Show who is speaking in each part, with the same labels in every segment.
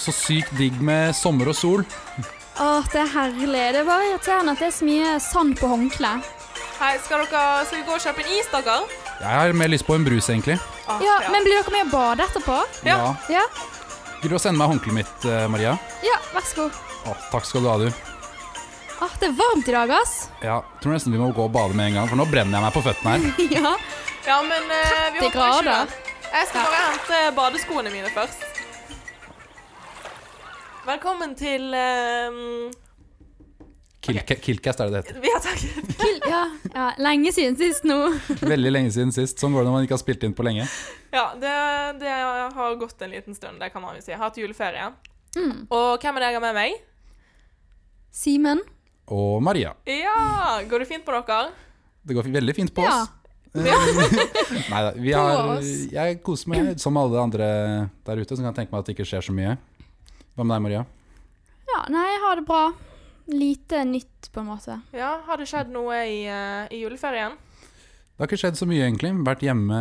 Speaker 1: så sykt digg med sommer og sol.
Speaker 2: Åh, det er herlig. Det var irriterende at det er så mye sand på håndkleet.
Speaker 3: Hei, skal, dere, skal vi gå og kjøpe en is, dere?
Speaker 1: Jeg har mer lyst på en brus, egentlig.
Speaker 3: Ah,
Speaker 2: Ja, men blir dere med og bade etterpå?
Speaker 3: Ja.
Speaker 2: Ja.
Speaker 1: Gidder du å sende meg håndkleet mitt, eh, Maria?
Speaker 2: Ja, vær så god.
Speaker 1: Å, takk skal du ha, du.
Speaker 2: Åh, det er varmt i dag, ass.
Speaker 1: Ja, tror nesten vi må gå og bade med en gang, for nå brenner jeg meg på føttene her.
Speaker 2: ja.
Speaker 3: ja, men eh,
Speaker 2: 30
Speaker 3: vi håper ikke
Speaker 2: grader.
Speaker 3: det. Jeg skal bare hente badeskoene mine først. Velkommen til eh,
Speaker 1: Kill, Killcast er det det heter.
Speaker 3: Vi har takket
Speaker 2: Kill, ja. ja. Lenge siden sist nå.
Speaker 1: Veldig lenge siden sist. Sånn går det når man ikke har spilt inn på lenge.
Speaker 3: Ja, det, det har gått en liten stund, det kan man jo si. Jeg har hatt juleferie.
Speaker 2: Mm.
Speaker 3: Og hvem er det jeg har med meg?
Speaker 2: Simen.
Speaker 1: Og Maria.
Speaker 3: Ja! Går det fint på dere?
Speaker 1: Det går veldig fint på
Speaker 2: Ja.
Speaker 1: oss. Neida, vi
Speaker 2: På
Speaker 1: har,
Speaker 2: oss.
Speaker 1: jeg koser meg som alle andre der ute, som kan tenke meg at det ikke skjer så mye. Hva med deg, Maria?
Speaker 2: ja. Nei, jeg har det bra. Lite nytt, på en måte.
Speaker 3: Ja, Har det skjedd noe i, eh, i juleferien?
Speaker 1: Det har ikke skjedd så mye, egentlig. Vært hjemme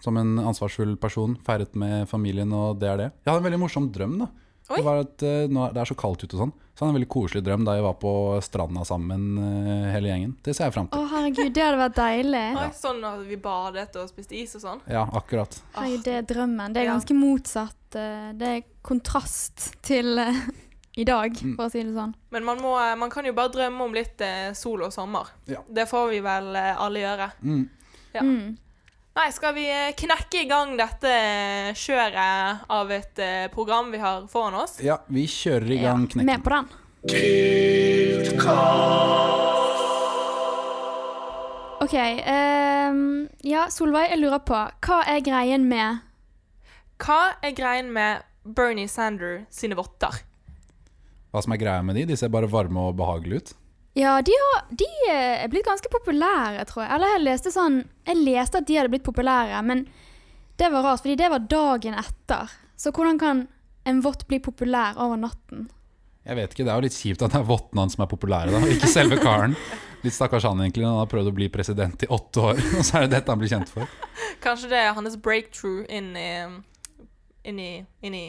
Speaker 1: som en ansvarsfull person, feiret med familien, og det er det. Jeg hadde en veldig morsom drøm, da.
Speaker 3: Oi.
Speaker 1: Det var at eh, nå er- Det er så kaldt ute og sånn. Så jeg hadde en veldig koselig drøm da jeg var på stranda sammen eh, hele gjengen. Det ser jeg fram
Speaker 2: Å,
Speaker 1: til.
Speaker 2: herregud, det hadde vært deilig.
Speaker 3: Oi, sånn at vi badet og spiste is og sånn?
Speaker 1: Ja, akkurat.
Speaker 2: Herregud, det er drømmen. Det er
Speaker 3: Ja.
Speaker 2: ganske motsatt. eh, Det er kontrast til eh, i dag,
Speaker 3: Mm.
Speaker 2: for å si det sånn.
Speaker 3: Men man, må, eh, man kan jo bare drømme om litt eh, sol og sommer.
Speaker 1: Ja.
Speaker 3: Det får vi vel eh, alle gjøre.
Speaker 1: Mm.
Speaker 3: Ja. Nei, skal vi eh, knekke i gang dette eh, kjøret av et eh, program vi har foran oss?
Speaker 1: Ja, vi kjører i gang knekken.
Speaker 2: Med på den. OK. ehm, ja, Solveig, jeg lurer på Hva er greien med
Speaker 3: Hva er greien med Bernie Sanders sine votter?
Speaker 1: Hva som er greia med de? De ser bare varme og behagelige ut.
Speaker 2: Ja, de, har, de eh, er blitt ganske populære, tror jeg. Eller jeg leste sånn Jeg leste at de hadde blitt populære, men det var rart, fordi det var dagen etter. Så hvordan kan en vått bli populær over natten?
Speaker 1: Jeg vet ikke, Det er jo litt kjipt at det er vottene hans som er populære, da, og ikke selve karen. Litt stakkars han, egentlig. når Han har prøvd å bli president i åtte år, og så er det dette han blir kjent for.
Speaker 3: Kanskje det er hans breakthrough inn i, inn i, inn i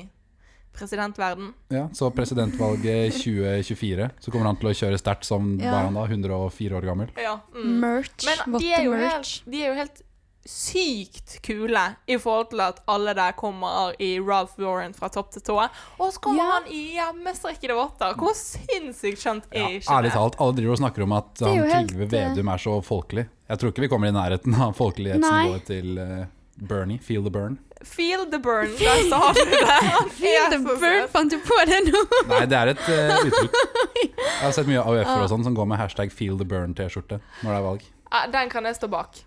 Speaker 3: presidentverden.
Speaker 1: Ja, Så presidentvalget 2024, så kommer han til å kjøre sterkt som
Speaker 2: Ja.
Speaker 1: var han da, 104 år gammel.
Speaker 3: Ja. Mm.
Speaker 2: Merch.
Speaker 3: Men de er, jo
Speaker 2: Votte-merch.
Speaker 3: helt, de er jo helt sykt kule i forhold til at alle der kommer i Ralph Lauren fra topp til tå. Og så kommer
Speaker 2: Ja.
Speaker 3: han i hjemmestrikkede votter. Hvor sinnssykt skjønt
Speaker 1: Ja,
Speaker 3: er ikke
Speaker 1: ærlig
Speaker 3: det?
Speaker 1: talt, alle driver og snakker om at
Speaker 2: er
Speaker 1: han
Speaker 2: jo helt,
Speaker 1: Trygve Vedum er så folkelig. Jeg tror ikke vi kommer i nærheten av folkelighetsnivået til eh, Bernie. Feel the burn.
Speaker 3: Feel the burn. Der sa du det. Han er
Speaker 2: Feel the
Speaker 3: så
Speaker 2: burn,
Speaker 3: søt.
Speaker 2: fant du på det nå?
Speaker 1: Nei, det er et eh, uttrykk. Jeg har sett mye
Speaker 2: Ah.
Speaker 1: AUF-er og sånn som går med hashtag feel the burn-T-skjorte når det er valg.
Speaker 3: Ja, Den kan jeg stå bak.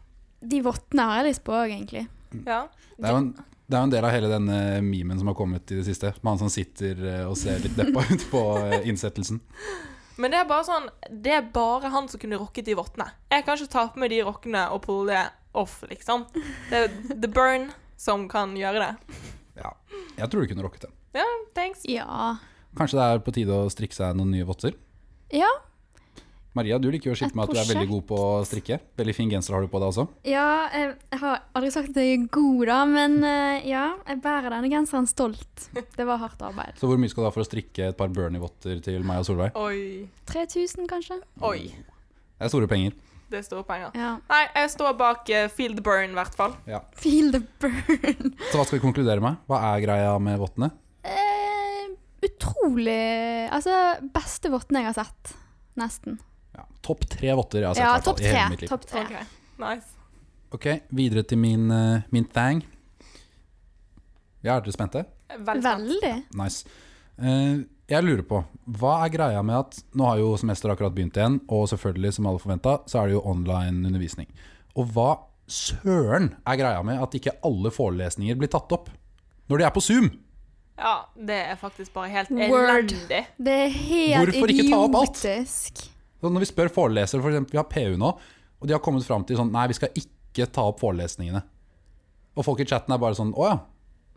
Speaker 2: De vottene har jeg lyst på òg, egentlig.
Speaker 1: Mm.
Speaker 3: Ja.
Speaker 1: Det er, jo en, det er jo en del av hele denne memen som har kommet i det siste. Med han som sitter eh, og ser litt deppa ut på eh, innsettelsen.
Speaker 3: Men det er bare sånn Det er bare han som kunne rocket de vottene. Jeg kan ikke ta på meg de rockene og pulle det off, liksom. Det er The Burn som kan gjøre det.
Speaker 1: Ja, jeg tror du kunne rocket det.
Speaker 3: Ja, thanks.
Speaker 2: Ja.
Speaker 1: Kanskje det er på tide å strikke seg noen nye votter?
Speaker 2: Ja,
Speaker 1: Maria, du liker jo å
Speaker 2: Et
Speaker 1: skilte med at du er veldig god på å strikke. Veldig fin genser har du på deg også.
Speaker 2: ja jeg, jeg har aldri sagt at jeg er god, da, men eh, ja, jeg bærer denne genseren stolt. Det var hardt arbeid.
Speaker 1: Så hvor mye skal du ha for å strikke et par Bernie-votter til meg og Solveig?
Speaker 3: Oi.
Speaker 2: 3000, kanskje?
Speaker 3: Oi.
Speaker 1: Det er store penger.
Speaker 3: Det er store penger.
Speaker 2: Ja.
Speaker 3: Nei, jeg står bak eh, Feel the Burn, i hvert fall.
Speaker 1: Ja.
Speaker 2: Feel the burn.
Speaker 1: Så hva skal vi konkludere med? Hva er greia med vottene?
Speaker 2: Eh, utrolig Altså, beste votten jeg har sett. Nesten.
Speaker 1: Ja, topp tre votter Altså, jeg har sett. i
Speaker 2: Ja,
Speaker 1: hvert fall,
Speaker 2: topp
Speaker 1: i hele
Speaker 2: tre.
Speaker 1: mitt liv.
Speaker 2: Topp tre.
Speaker 3: OK, nice.
Speaker 1: Ok, videre til min, eh, min thang. Ja, er dere spente?
Speaker 3: Veldig spent.
Speaker 2: Veldig.
Speaker 1: Nice. Eh, jeg lurer på, hva er greia med at nå har jo semesteret akkurat begynt igjen, og selvfølgelig, som alle forventa, så er det jo online undervisning. Og hva søren er greia med at ikke alle forelesninger blir tatt opp når de er på Zoom?
Speaker 3: Ja, det er faktisk bare helt
Speaker 2: Word.
Speaker 3: elendig.
Speaker 2: Det er helt
Speaker 1: Hvorfor ikke ta opp alt?
Speaker 2: idiotisk.
Speaker 1: Så når vi spør forelesere, for eksempel, vi har PU nå, og de har kommet fram til sånn Nei, vi skal ikke ta opp forelesningene. Og folk i chatten er bare sånn Å ja.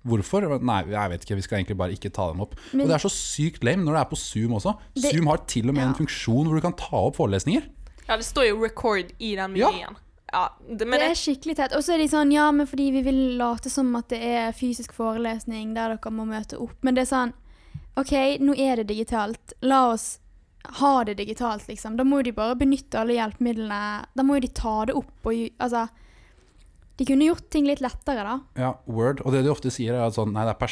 Speaker 1: Hvorfor? Nei, jeg vet ikke. Vi skal egentlig bare ikke ta dem opp. og det er så sykt lame når det er på Zoom også.
Speaker 2: Det-
Speaker 1: Zoom har til og med
Speaker 2: Ja.
Speaker 1: en funksjon hvor du kan ta opp forelesninger.
Speaker 3: Ja, det står jo 'record' i den
Speaker 1: Ja.
Speaker 3: menyen. Ja, det, men
Speaker 2: Det
Speaker 3: jeg
Speaker 2: er skikkelig teit. Og så er de sånn Ja, men fordi vi vil late som at det er fysisk forelesning der dere må møte opp. Men det er sånn OK, nå er det digitalt. La oss ha det digitalt, liksom. Da må jo de bare benytte alle hjelpemidlene. Da må jo de ta det opp og ju- Altså De kunne gjort ting litt lettere, da.
Speaker 1: Ja, Word. Og det de ofte sier, er at sånn, nei, det er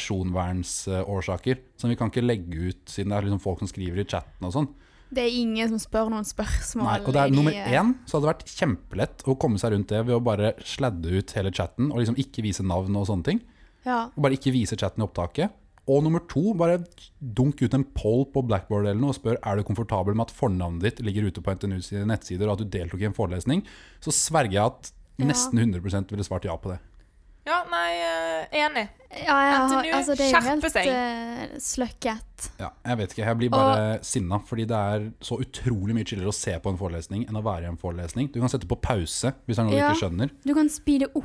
Speaker 1: personvernsårsaker. Sånn, vi kan ikke legge ut, siden det er liksom folk som skriver i chatten og sånn.
Speaker 2: Det er ingen som spør noen spørsmål.
Speaker 1: Nei, og det er nummer
Speaker 2: i- eh,
Speaker 1: én, så hadde det vært kjempelett å komme seg rundt det ved å bare sladde ut hele chatten og liksom ikke vise navn og sånne ting.
Speaker 2: Ja.
Speaker 1: Og bare ikke vise chatten i opptaket. Og nummer to, bare dunk ut en poll på Blackboard eller noe og spør er du komfortabel med at fornavnet ditt ligger ute på NTNU sine nettsider, og at du deltok i en forelesning, så sverger jeg at
Speaker 2: Ja.
Speaker 1: nesten 100 ville svart ja på det.
Speaker 3: Ja, nei, eh, enig.
Speaker 2: ja jeg har,
Speaker 3: NTNU,
Speaker 2: altså, det er jo
Speaker 3: skjerpe
Speaker 2: helt
Speaker 3: seg.
Speaker 2: eh, sløkket.
Speaker 1: Ja, jeg vet ikke, jeg blir bare sinna, fordi det er så utrolig mye chillere å se på en forelesning enn å være i en forelesning. Du kan sette på pause hvis det er noe
Speaker 2: Ja.
Speaker 1: du ikke skjønner.
Speaker 2: Du kan speede opp.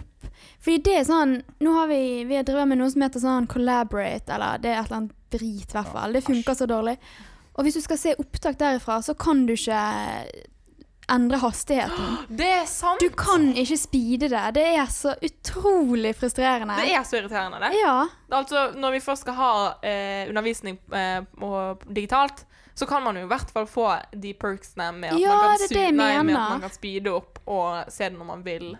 Speaker 2: Fordi det er sånn Nå har vi, vi har drevet med noe som heter sånn collaborate, eller det er et eller annet drit, i hvert fall. Det funker så dårlig. Og hvis du skal se opptak derifra, så kan du ikke endre hastigheten.
Speaker 3: Det er sant!
Speaker 2: Du kan ikke speede det. Det er så utrolig frustrerende.
Speaker 3: Det er så irriterende, det.
Speaker 2: Ja.
Speaker 3: Altså, når vi først skal ha eh, undervisning eh, og digitalt, så kan man jo i hvert fall få de perksene med at,
Speaker 2: Ja,
Speaker 3: man,
Speaker 2: det
Speaker 3: kan
Speaker 2: er det jeg
Speaker 3: nei, med
Speaker 2: mener.
Speaker 3: at man kan speede opp og se det når man vil.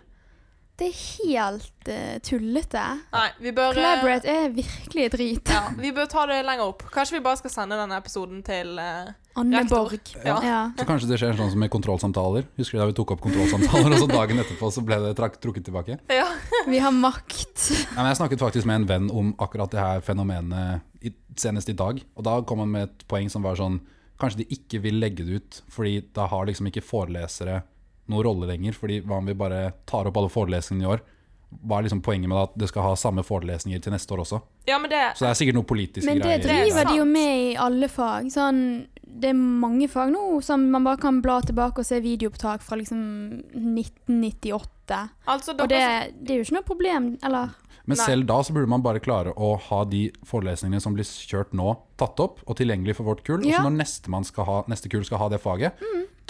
Speaker 2: Det er helt eh, tullete.
Speaker 3: Nei, vi bør, eh,
Speaker 2: Collaborate er virkelig drit.
Speaker 3: ja, vi bør ta det lenger opp. Kanskje vi bare skal sende denne episoden til eh,
Speaker 2: Anne
Speaker 3: rektor.
Speaker 2: Borg.
Speaker 3: Ja.
Speaker 2: Ja.
Speaker 1: Så kanskje det skjer sånn som med kontrollsamtaler. Husker du da vi tok opp kontrollsamtaler, og så dagen etterpå så ble det trak trukket tilbake?
Speaker 3: Ja.
Speaker 2: Vi har makt.
Speaker 1: Nei, men jeg snakket faktisk med en venn om akkurat det her fenomenet i, senest i dag. Og da kom han med et poeng som var sånn Kanskje de ikke vil legge det ut, fordi da har liksom ikke forelesere noen rolle lenger. fordi hva om vi bare tar opp alle forelesningene i år? Hva er liksom poenget med at det skal ha samme forelesninger til neste år også?
Speaker 3: ja, men det
Speaker 1: Så det er sikkert noen politiske
Speaker 2: Men det
Speaker 1: greier. i
Speaker 3: Det er
Speaker 2: driver de jo
Speaker 3: sant.
Speaker 2: med i alle fag. Sånn, det er mange fag nå som man bare kan bla tilbake og se videoopptak fra liksom 1998.
Speaker 3: Altså,
Speaker 2: Og
Speaker 3: dere,
Speaker 2: det, det er jo ikke noe problem, eller?
Speaker 1: Men
Speaker 3: Nei.
Speaker 1: selv da så burde man bare klare å ha de forelesningene som blir kjørt nå, tatt opp og tilgjengelig for vårt kull. Og
Speaker 2: Ja.
Speaker 1: så
Speaker 2: Mm.
Speaker 1: når neste, man skal ha, neste kull skal ha det faget,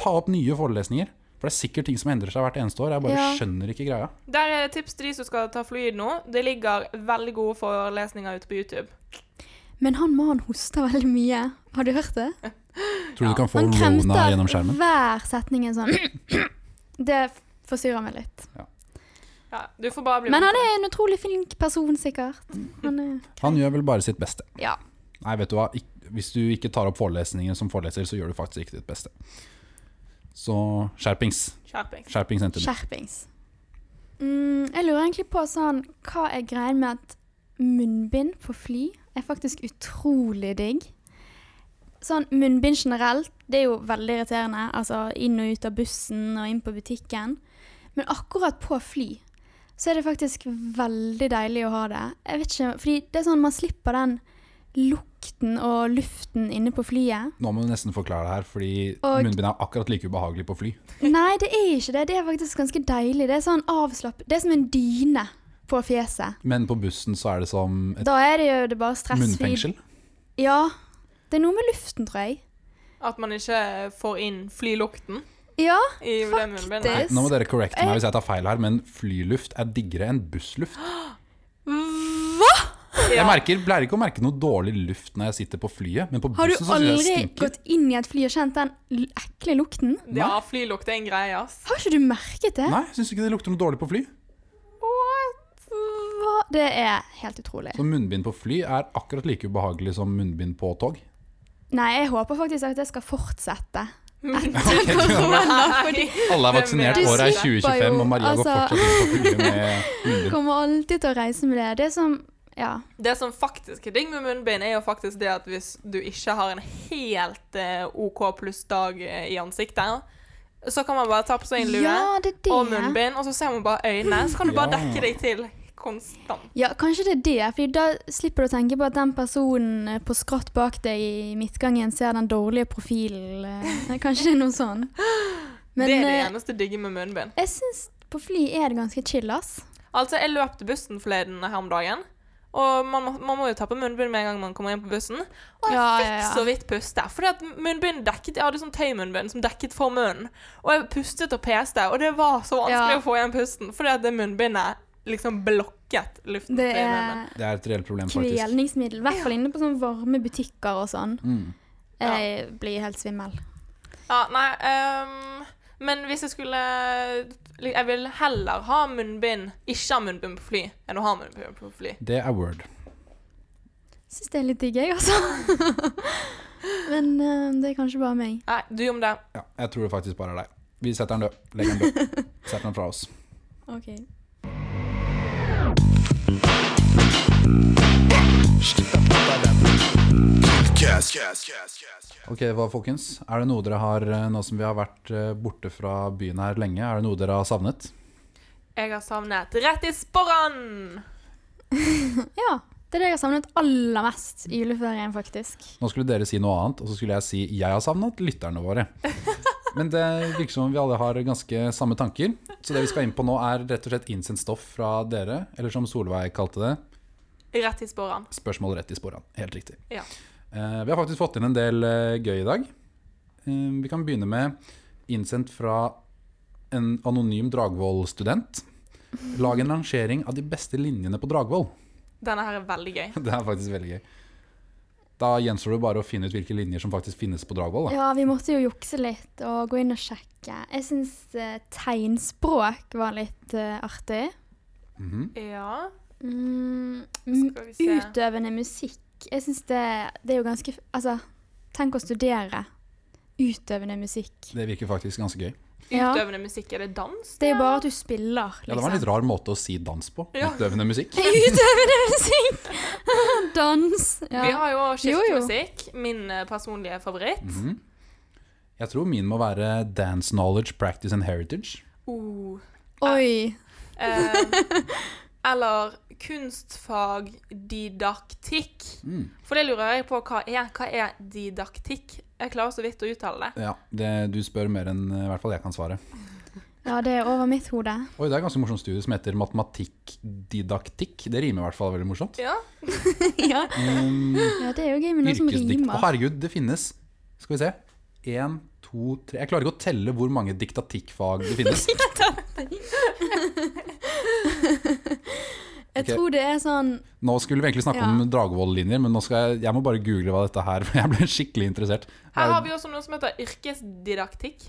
Speaker 1: ta opp nye forelesninger. For det er sikkert ting som endrer seg hvert eneste år. Jeg bare
Speaker 2: Ja.
Speaker 1: skjønner ikke greia.
Speaker 3: der er tips til de som skal ta fluid nå. Det ligger veldig gode forelesninger ute på YouTube.
Speaker 2: Men han mannen hoster veldig mye. Har du hørt det?
Speaker 1: Tror du du kan få
Speaker 2: Han
Speaker 1: rona gjennom skjermen?
Speaker 2: hver setning en sånn Det forstyrrer meg litt.
Speaker 3: Ja, du får bare bli
Speaker 2: Men han er en utrolig flink person, sikkert. Han er,
Speaker 1: Han gjør vel bare sitt beste.
Speaker 2: ja.
Speaker 1: Nei, vet du hva. Ik- Hvis du ikke tar opp forelesningene som foreleser, så gjør du faktisk ikke ditt beste. Så skjerpings.
Speaker 3: Skjerping.
Speaker 1: Skjerpings NTNU.
Speaker 2: Skjerpings. Mm, jeg lurer egentlig på sånn, hva er greien med at munnbind på fly er faktisk utrolig digg. Sånn, munnbind generelt, det er jo veldig irriterende. Altså inn og ut av bussen og inn på butikken. Men akkurat på fly så er det faktisk veldig deilig å ha det. Jeg vet ikke, fordi det er sånn man slipper den lukten og luften inne på flyet.
Speaker 1: Nå må du nesten forklare det her, fordi
Speaker 2: Og-
Speaker 1: munnbind er akkurat like ubehagelig på fly.
Speaker 2: Nei, det er ikke det. Det er faktisk ganske deilig. Det er sånn avslapp... Det er som en dyne på fjeset.
Speaker 1: Men på bussen så er det som et
Speaker 2: Da er det jo det bare stressfri
Speaker 1: munnfengsel.
Speaker 2: Ja. Det er noe med luften, tror jeg.
Speaker 3: At man ikke får inn flylukten
Speaker 2: Ja,
Speaker 3: i det munnbindet.
Speaker 2: Faktisk.
Speaker 1: Nå må dere correcte
Speaker 2: Eh.
Speaker 1: meg hvis jeg tar feil her, men flyluft er diggere enn bussluft.
Speaker 2: hva?!
Speaker 1: Jeg merker, pleier ikke å merke noe dårlig luft når jeg sitter på flyet, men på
Speaker 2: Har du
Speaker 1: bussen så synes
Speaker 2: aldri
Speaker 1: jeg det stinker.
Speaker 2: gått inn i et fly og kjent den l- ekle lukten?
Speaker 3: Ja, flylukt er en greie, ass.
Speaker 2: Har ikke du merket det?
Speaker 1: Nei, jeg syns ikke det lukter noe dårlig på fly.
Speaker 2: Hva? Det er helt utrolig.
Speaker 1: Så munnbind på fly er akkurat like ubehagelig som munnbind på tog.
Speaker 2: Nei, jeg håper faktisk at det skal fortsette.
Speaker 3: Nei.
Speaker 1: Alle er vaksinert,
Speaker 3: Du
Speaker 1: året er 2025,
Speaker 3: slipper
Speaker 2: jo,
Speaker 1: og Maria går
Speaker 2: altså.
Speaker 1: fortsatt inn på flyet med munnbind.
Speaker 2: Kommer alltid til å reise med det. Det er som Ja.
Speaker 3: Det som faktisk er digg med munnbind, er jo faktisk det at hvis du ikke har en helt eh, OK pluss-dag eh, i ansiktet, så kan man bare ta på seg en lue
Speaker 2: Ja, det er det.
Speaker 3: og munnbind, og så ser man bare øynene, så kan du bare
Speaker 1: Ja.
Speaker 3: dekke deg til konstant.
Speaker 2: Ja, kanskje det er det. Fordi da slipper du å tenke på at den personen eh, på skratt bak deg i midtgangen ser den dårlige profilen. eh. Kanskje det er noe sånn. Men
Speaker 3: det er det
Speaker 2: eh,
Speaker 3: eneste digge med munnbind.
Speaker 2: jeg syns på fly er det ganske chill, ass.
Speaker 3: Altså, jeg løp til bussen forleden her om dagen, og man må, man må jo ta på munnbind med en gang man kommer inn på bussen. Og jeg
Speaker 2: Ja,
Speaker 3: fikk
Speaker 2: ja, ja.
Speaker 3: så vidt puste, fordi at munnbind dekket, jeg hadde sånn tøymunnbind som dekket for munnen. Og jeg pustet og peste, og det var så vanskelig
Speaker 2: Ja.
Speaker 3: å få igjen pusten, fordi at det munnbindet liksom blokket luften
Speaker 2: Det
Speaker 3: til munnen.
Speaker 2: er
Speaker 1: Det er et reelt problem, faktisk.
Speaker 2: kvelningsmiddel. I hvert fall inne på sånne varme butikker og sånn.
Speaker 1: Mm.
Speaker 2: Jeg blir helt svimmel.
Speaker 3: Ja, nei ehm, Men hvis jeg skulle Jeg vil heller ha munnbind, ikke ha munnbind på fly, enn å ha munnbind på fly.
Speaker 1: Det er word.
Speaker 2: Syns det er litt digg, jeg, altså. Men eh, det er kanskje bare meg.
Speaker 3: Nei, du om det.
Speaker 1: Ja, jeg tror det faktisk bare er deg. Vi setter den død. Legger den død. Setter den fra oss.
Speaker 2: Ok.
Speaker 1: Ok, hva folkens? Er det noe dere har, eh, nå som vi har vært eh, borte fra byen her lenge, er det noe dere har savnet?
Speaker 3: Jeg har savnet rett i sporene!
Speaker 2: Ja. Det er det jeg har savnet aller mest i juleferien, faktisk.
Speaker 1: Nå skulle dere si noe annet, og så skulle jeg si jeg har savnet lytterne våre. Men det virker som om vi alle har ganske samme tanker. Så det vi skal inn på nå, er rett og slett innsendt stoff fra dere, eller som Solveig kalte det,
Speaker 3: Rett i sporene.
Speaker 1: spørsmål rett i sporene. Helt riktig.
Speaker 3: Ja.
Speaker 1: Eh, vi har faktisk fått inn en del eh, gøy i dag. Eh, vi kan begynne med innsendt fra en anonym Dragvoll-student. Lag en rangering av de beste linjene på Dragvoll.
Speaker 3: Denne her er veldig gøy.
Speaker 1: Det er faktisk veldig gøy. Da gjenstår det bare å finne ut hvilke linjer som faktisk finnes på Dragvoll. da.
Speaker 2: Ja, vi måtte jo jukse litt og gå inn og sjekke. Jeg syns eh, tegnspråk var litt eh, artig.
Speaker 1: Mhm.
Speaker 3: Ja,
Speaker 2: Mm, m-
Speaker 3: skal vi se.
Speaker 2: utøvende musikk Jeg syns det, det er jo ganske f- Altså, tenk å studere utøvende musikk.
Speaker 1: Det virker faktisk ganske gøy.
Speaker 2: Ja.
Speaker 3: Utøvende musikk. Er det dans?
Speaker 2: Det er jo bare at du spiller, liksom.
Speaker 1: Ja, det var en litt rar måte å si dans på.
Speaker 3: Ja.
Speaker 1: Utøvende musikk.
Speaker 2: Utøvende musikk! Dans. Ja.
Speaker 3: Vi har jo
Speaker 2: Jo, jo.
Speaker 3: kirkemusikk, min eh, personlige favoritt.
Speaker 1: Mhm. Jeg tror min må være dance knowledge, practice and heritage.
Speaker 3: Uh,
Speaker 2: Oi.
Speaker 3: eh, eller kunstfagdidaktikk.
Speaker 1: Mm.
Speaker 3: For det lurer jeg på hva er. Hva er didaktikk? Jeg klarer så vidt å uttale det.
Speaker 1: Ja, det, du spør mer enn eh, i hvert fall jeg kan svare.
Speaker 2: Ja, det er over mitt hode.
Speaker 1: Oi, det er et ganske morsomt studie som heter matematikkdidaktikk. Det rimer i hvert fall veldig morsomt.
Speaker 3: Ja,
Speaker 2: ja.
Speaker 1: Um,
Speaker 2: ja, det er jo gøy med noe som
Speaker 1: Mm, yrkesdikt. Å,
Speaker 2: rimer.
Speaker 1: herregud, det finnes. Skal vi se. Én, to, tre Jeg klarer ikke å telle hvor mange diktatikkfag det finnes.
Speaker 2: Jeg
Speaker 1: Ok.
Speaker 2: tror det er sånn
Speaker 1: Nå skulle vi egentlig snakke
Speaker 2: Ja.
Speaker 1: om Dragvoll-linjer, men nå skal jeg, jeg må bare google hva dette her For jeg ble skikkelig interessert.
Speaker 3: Her har vi også noe som heter yrkesdidaktikk.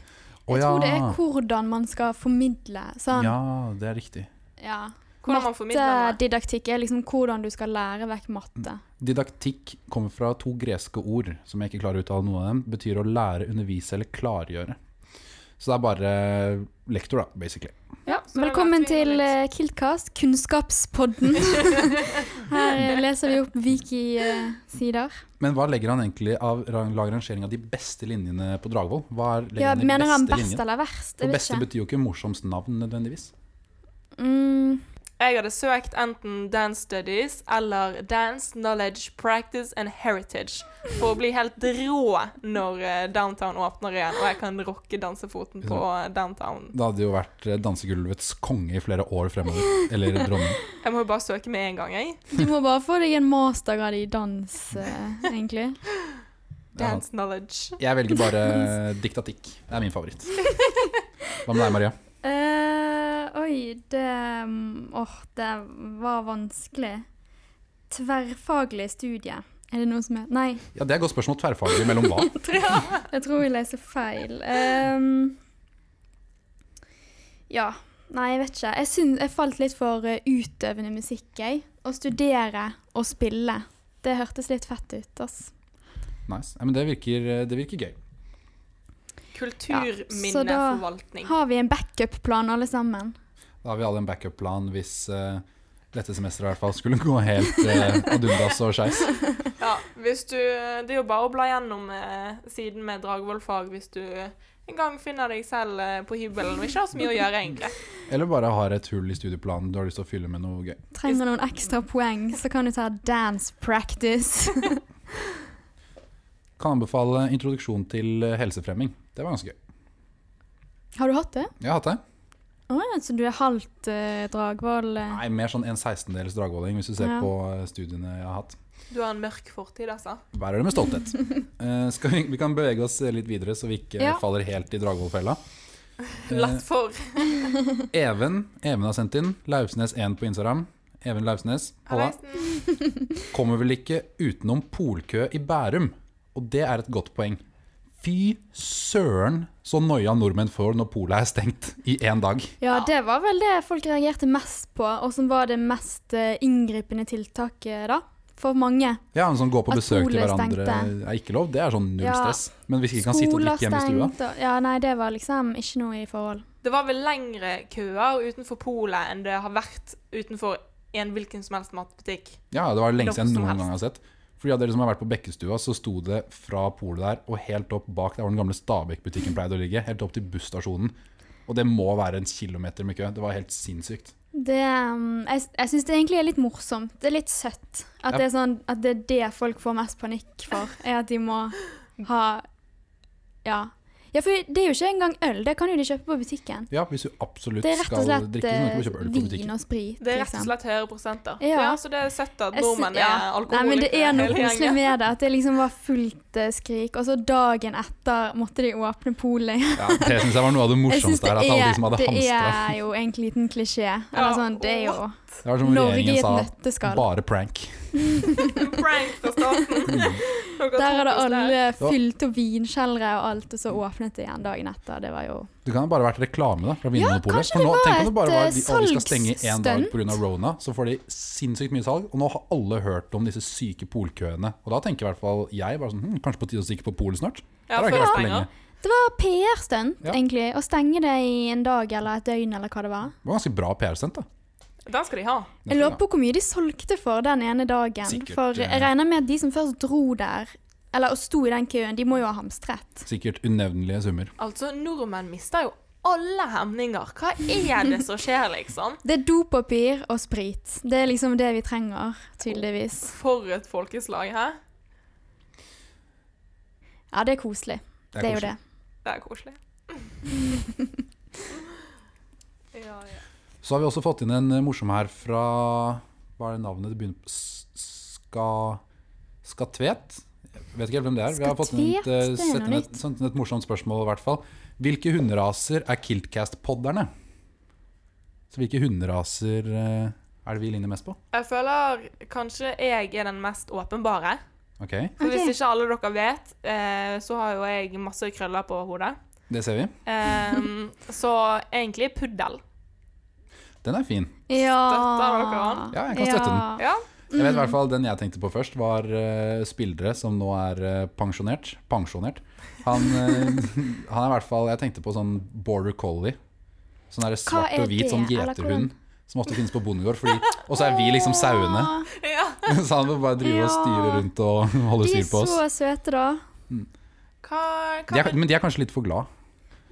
Speaker 2: Jeg tror det er hvordan man skal formidle. Sånn,
Speaker 1: Ja, det er riktig.
Speaker 2: ja.
Speaker 3: Hvordan man formidler noe.
Speaker 2: Mattedidaktikk er liksom hvordan du skal lære vekk matte.
Speaker 1: Didaktikk kommer fra to greske ord som jeg ikke klarer å uttale noen av dem. Betyr å lære, undervise eller klargjøre. Så det er bare lektor, da, basically.
Speaker 3: Ja, så da
Speaker 2: Velkommen
Speaker 3: lærte vi
Speaker 2: til
Speaker 3: litt.
Speaker 2: eh, Kiltcast, kunnskapspodden. Her eh, leser vi opp eh, Viki-sider.
Speaker 1: Men hva legger han egentlig av rang- lag rangering av de beste linjene på Dragvoll? Hva er, legger
Speaker 2: Ja,
Speaker 1: han i
Speaker 2: mener han
Speaker 1: beste
Speaker 2: best
Speaker 1: linjen?
Speaker 2: eller verst?
Speaker 1: For
Speaker 2: Jeg vet
Speaker 1: beste
Speaker 2: ikke.
Speaker 1: betyr jo ikke morsomst navn nødvendigvis.
Speaker 2: Mm,
Speaker 3: Jeg hadde søkt enten Dance Studies eller Dance Knowledge Practice and Heritage for å bli helt rå når eh, downtown åpner igjen, og jeg kan rocke dansefoten på downtown.
Speaker 1: Det hadde jo vært eh, dansegulvets konge i flere år fremover. Eller dronning.
Speaker 3: Jeg må jo bare søke med en gang, jeg.
Speaker 2: du må bare få deg en mastergrad i dans, eh, egentlig.
Speaker 1: Ja.
Speaker 3: Dance Knowledge.
Speaker 1: Jeg velger bare diktatikk. Det er min favoritt. Hva med deg, Maria?
Speaker 2: Eh, oi, det mm, Åh, det var vanskelig. Tverrfaglig studie. Er det noe som er Nei,
Speaker 1: Ja, Det er et godt spørsmål. Tverrfaglig mellom hva?
Speaker 2: jeg tror jeg leser feil. Ehm, ja. Nei, jeg vet ikke. Jeg, syns- jeg falt litt for eh, utøvende musikk, jeg. Å studere og spille. Det hørtes litt fett ut, ass.
Speaker 1: Nice. Ja, men det virker, eh, det virker gøy.
Speaker 2: så da-
Speaker 3: Kulturminneforvaltning.
Speaker 2: Har vi en backup-plan, alle sammen?
Speaker 1: Da har vi alle en backup-plan hvis eh, dette semesteret i hvert fall skulle gå helt eh, ad undas og skeis.
Speaker 3: Ja, hvis du, eh, det er jo bare å bla gjennom eh, siden med Dragvoll-fag hvis du en gang finner deg selv eh, på hybelen og ikke har så mye å gjøre, egentlig.
Speaker 1: Eller bare har et hull i studieplanen du har lyst til å fylle med noe gøy.
Speaker 2: Trenger noen ekstra poeng, så kan du ta dance practice.
Speaker 1: Kan anbefale introduksjon til eh, helsefremming. Det var ganske gøy.
Speaker 2: Har du hatt det?
Speaker 1: Jeg har hatt det.
Speaker 2: Å ja, så du er halvt eh, Dragvoll? eh.
Speaker 1: Nei, mer sånn en sekstendels dragvolling hvis du ser
Speaker 2: Ja.
Speaker 1: på eh, studiene jeg har hatt.
Speaker 3: Du har en mørk fortid, altså.
Speaker 1: Bærer det med stolthet. Eh, skal vi, vi kan bevege oss eh, litt videre, så vi ikke
Speaker 2: Ja.
Speaker 1: faller helt i dragvollfella.
Speaker 2: Eh,
Speaker 3: Latt for.
Speaker 1: Even Even har sendt inn. Lauvsnes1 på Instagram. Even Lauvsnes. Halla.
Speaker 3: Halleisen.
Speaker 1: Kommer vel ikke utenom polkø i Bærum. Og det er et godt poeng. Fy søren så noia nordmenn får når polet er stengt i én dag.
Speaker 2: Ja, det var vel det folk reagerte mest på, og som var det mest eh, inngripende tiltaket da, for mange.
Speaker 1: Ja, men sånn Gå på
Speaker 2: At
Speaker 1: besøk til
Speaker 2: polet
Speaker 1: hverandre
Speaker 2: stengte.
Speaker 1: er ikke lov. Det er sånn null
Speaker 2: Ja.
Speaker 1: stress. Men hvis ikke kan sitte og drikke hjemme i stua
Speaker 2: og Ja, nei, det var liksom ikke noe i forhold.
Speaker 3: Det var vel lengre køer utenfor polet enn det har vært utenfor en hvilken som helst matbutikk.
Speaker 1: Ja, det var lenge
Speaker 3: Noe
Speaker 1: siden jeg
Speaker 3: som
Speaker 1: noen
Speaker 3: helst.
Speaker 1: gang har sett. Fordi av dere som har vært på Bekkestua, så sto det fra polet der og helt opp bak der hvor den gamle Stabekk-butikken pleide å ligge, helt opp til busstasjonen. Og det må være en kilometer med kø. Det var helt sinnssykt.
Speaker 2: Det, um, jeg jeg syns det egentlig er litt morsomt. Det er litt søtt.
Speaker 1: Ja.
Speaker 2: At, det er sånn, at det er det folk får mest panikk for, er at de må ha Ja. Ja, for det er jo ikke engang øl. Det kan jo de kjøpe på butikken.
Speaker 1: Ja, hvis du absolutt
Speaker 2: Det er rett og
Speaker 1: skal
Speaker 2: slett
Speaker 1: drikke, så må du ikke
Speaker 2: eh,
Speaker 1: kjøpe øl på
Speaker 2: vin
Speaker 1: butikken.
Speaker 2: og sprit.
Speaker 3: Det er rett og
Speaker 2: liksom.
Speaker 3: slett høyere prosenter.
Speaker 2: Ja.
Speaker 3: Ja, så det er søtt at
Speaker 2: Jeg sy-
Speaker 3: nordmenn
Speaker 2: ja.
Speaker 3: er alkoholikere.
Speaker 2: Nei, men det er noe
Speaker 3: hele
Speaker 2: koselig
Speaker 3: gjengen.
Speaker 2: med det. At det liksom var fullt eh, skrik. Og så dagen etter måtte de åpne polet.
Speaker 1: Ja, det syns jeg var noe av det
Speaker 2: sånn. Jeg synes
Speaker 1: morsomste her. At alle de som hadde
Speaker 2: det
Speaker 1: hamstra.
Speaker 2: er jo egentlig en liten klisjé.
Speaker 3: Ja,
Speaker 2: Eller sånn, det er jo
Speaker 1: Det var som
Speaker 2: Norge i
Speaker 1: regjeringen
Speaker 2: et
Speaker 1: sa,
Speaker 2: nøtteskall.
Speaker 1: bare prank.
Speaker 3: Prank fra staten. Dere
Speaker 2: Mm. Der
Speaker 3: tok
Speaker 2: hadde
Speaker 3: oss der.
Speaker 2: alle
Speaker 1: Ja.
Speaker 2: fylt opp vinkjellere og alt, og så åpnet det igjen dagen etter. Det var jo
Speaker 1: Det kan ha bare vært reklame da, fra Vinmonopolet.
Speaker 2: kanskje
Speaker 1: For nå,
Speaker 2: det var
Speaker 1: tenk om det bare
Speaker 2: et,
Speaker 1: var
Speaker 2: eh,
Speaker 1: de, å, de skal stenge én dag
Speaker 2: salgsstunt.
Speaker 1: pga. Rona, så får de sinnssykt mye salg. Og nå har alle hørt om disse syke polkøene. Og da tenker i hvert fall jeg bare sånn hm, Kanskje på tide å stikke på polet snart?
Speaker 3: Ja,
Speaker 1: Der har jeg
Speaker 3: før
Speaker 1: ikke vært på
Speaker 3: stenger.
Speaker 1: lenge.
Speaker 2: Det var PR-stunt,
Speaker 1: Ja.
Speaker 2: egentlig. Å stenge det i en dag eller et døgn eller hva det var.
Speaker 1: Det var ganske bra PR-sent, da.
Speaker 3: Den skal de ha.
Speaker 2: Jeg lurer på hvor mye de solgte for den ene dagen.
Speaker 1: Sikkert,
Speaker 2: for jeg
Speaker 1: eh,
Speaker 2: regner med at de som først dro der, eller og sto i den køen, de må jo ha hamstret.
Speaker 1: Sikkert unevnelige summer.
Speaker 3: Altså, nordmenn mister jo alle hemninger. Hva er det som skjer, liksom?
Speaker 2: Det er dopapir og sprit. Det er liksom det vi trenger, tydeligvis.
Speaker 3: For et folkeslag, hæ?
Speaker 2: Ja, det er koselig. Det er, jo
Speaker 1: koselig.
Speaker 2: det.
Speaker 3: Det er koselig. ja, ja.
Speaker 1: Så har vi også fått inn en eh, morsom her fra Hva er navnet det begynner på? S- Ska... Skatvet? Jeg vet ikke helt hvem det er. Vi har fått inn et, eh,
Speaker 2: Skatvet? Det er
Speaker 1: sett inn
Speaker 2: noe
Speaker 1: et, sendt inn et morsomt spørsmål, i hvert fall. Hvilke hunderaser er Kiltcast-podderne? Så hvilke hunderaser eh, er det vi ligner mest på?
Speaker 3: Jeg føler kanskje jeg er den mest åpenbare.
Speaker 1: Ok,
Speaker 3: For
Speaker 2: Ok.
Speaker 3: hvis ikke alle dere vet, eh, så har jo jeg masse krøller på hodet.
Speaker 1: det ser vi.
Speaker 3: Ehm, så egentlig puddel.
Speaker 1: Den er fin.
Speaker 2: Ja.
Speaker 3: Støtter dere han?
Speaker 1: Ja, jeg kan støtte
Speaker 2: Ja.
Speaker 3: Ja.
Speaker 1: Jeg vet i hvert
Speaker 2: Mm.
Speaker 1: fall Den jeg tenkte på først, var eh, spillere som nå er eh, pensjonert. Pensjonert. Han, eh, han er i hvert fall Jeg tenkte på sånn border collie. Sånn der svart
Speaker 2: er
Speaker 1: og hvit
Speaker 2: det,
Speaker 1: sånn
Speaker 2: eller hvordan?
Speaker 1: gjeterhund som ofte finnes på bondegård. Fordi, og så er vi liksom sauene,
Speaker 2: Åh,
Speaker 3: ja.
Speaker 1: så han må bare drive og styre
Speaker 2: Ja.
Speaker 1: rundt og holde
Speaker 2: De er
Speaker 1: styr på oss.
Speaker 2: så søte, da.
Speaker 3: Hva,
Speaker 1: De
Speaker 3: hva
Speaker 1: er, men de er kanskje litt for glad.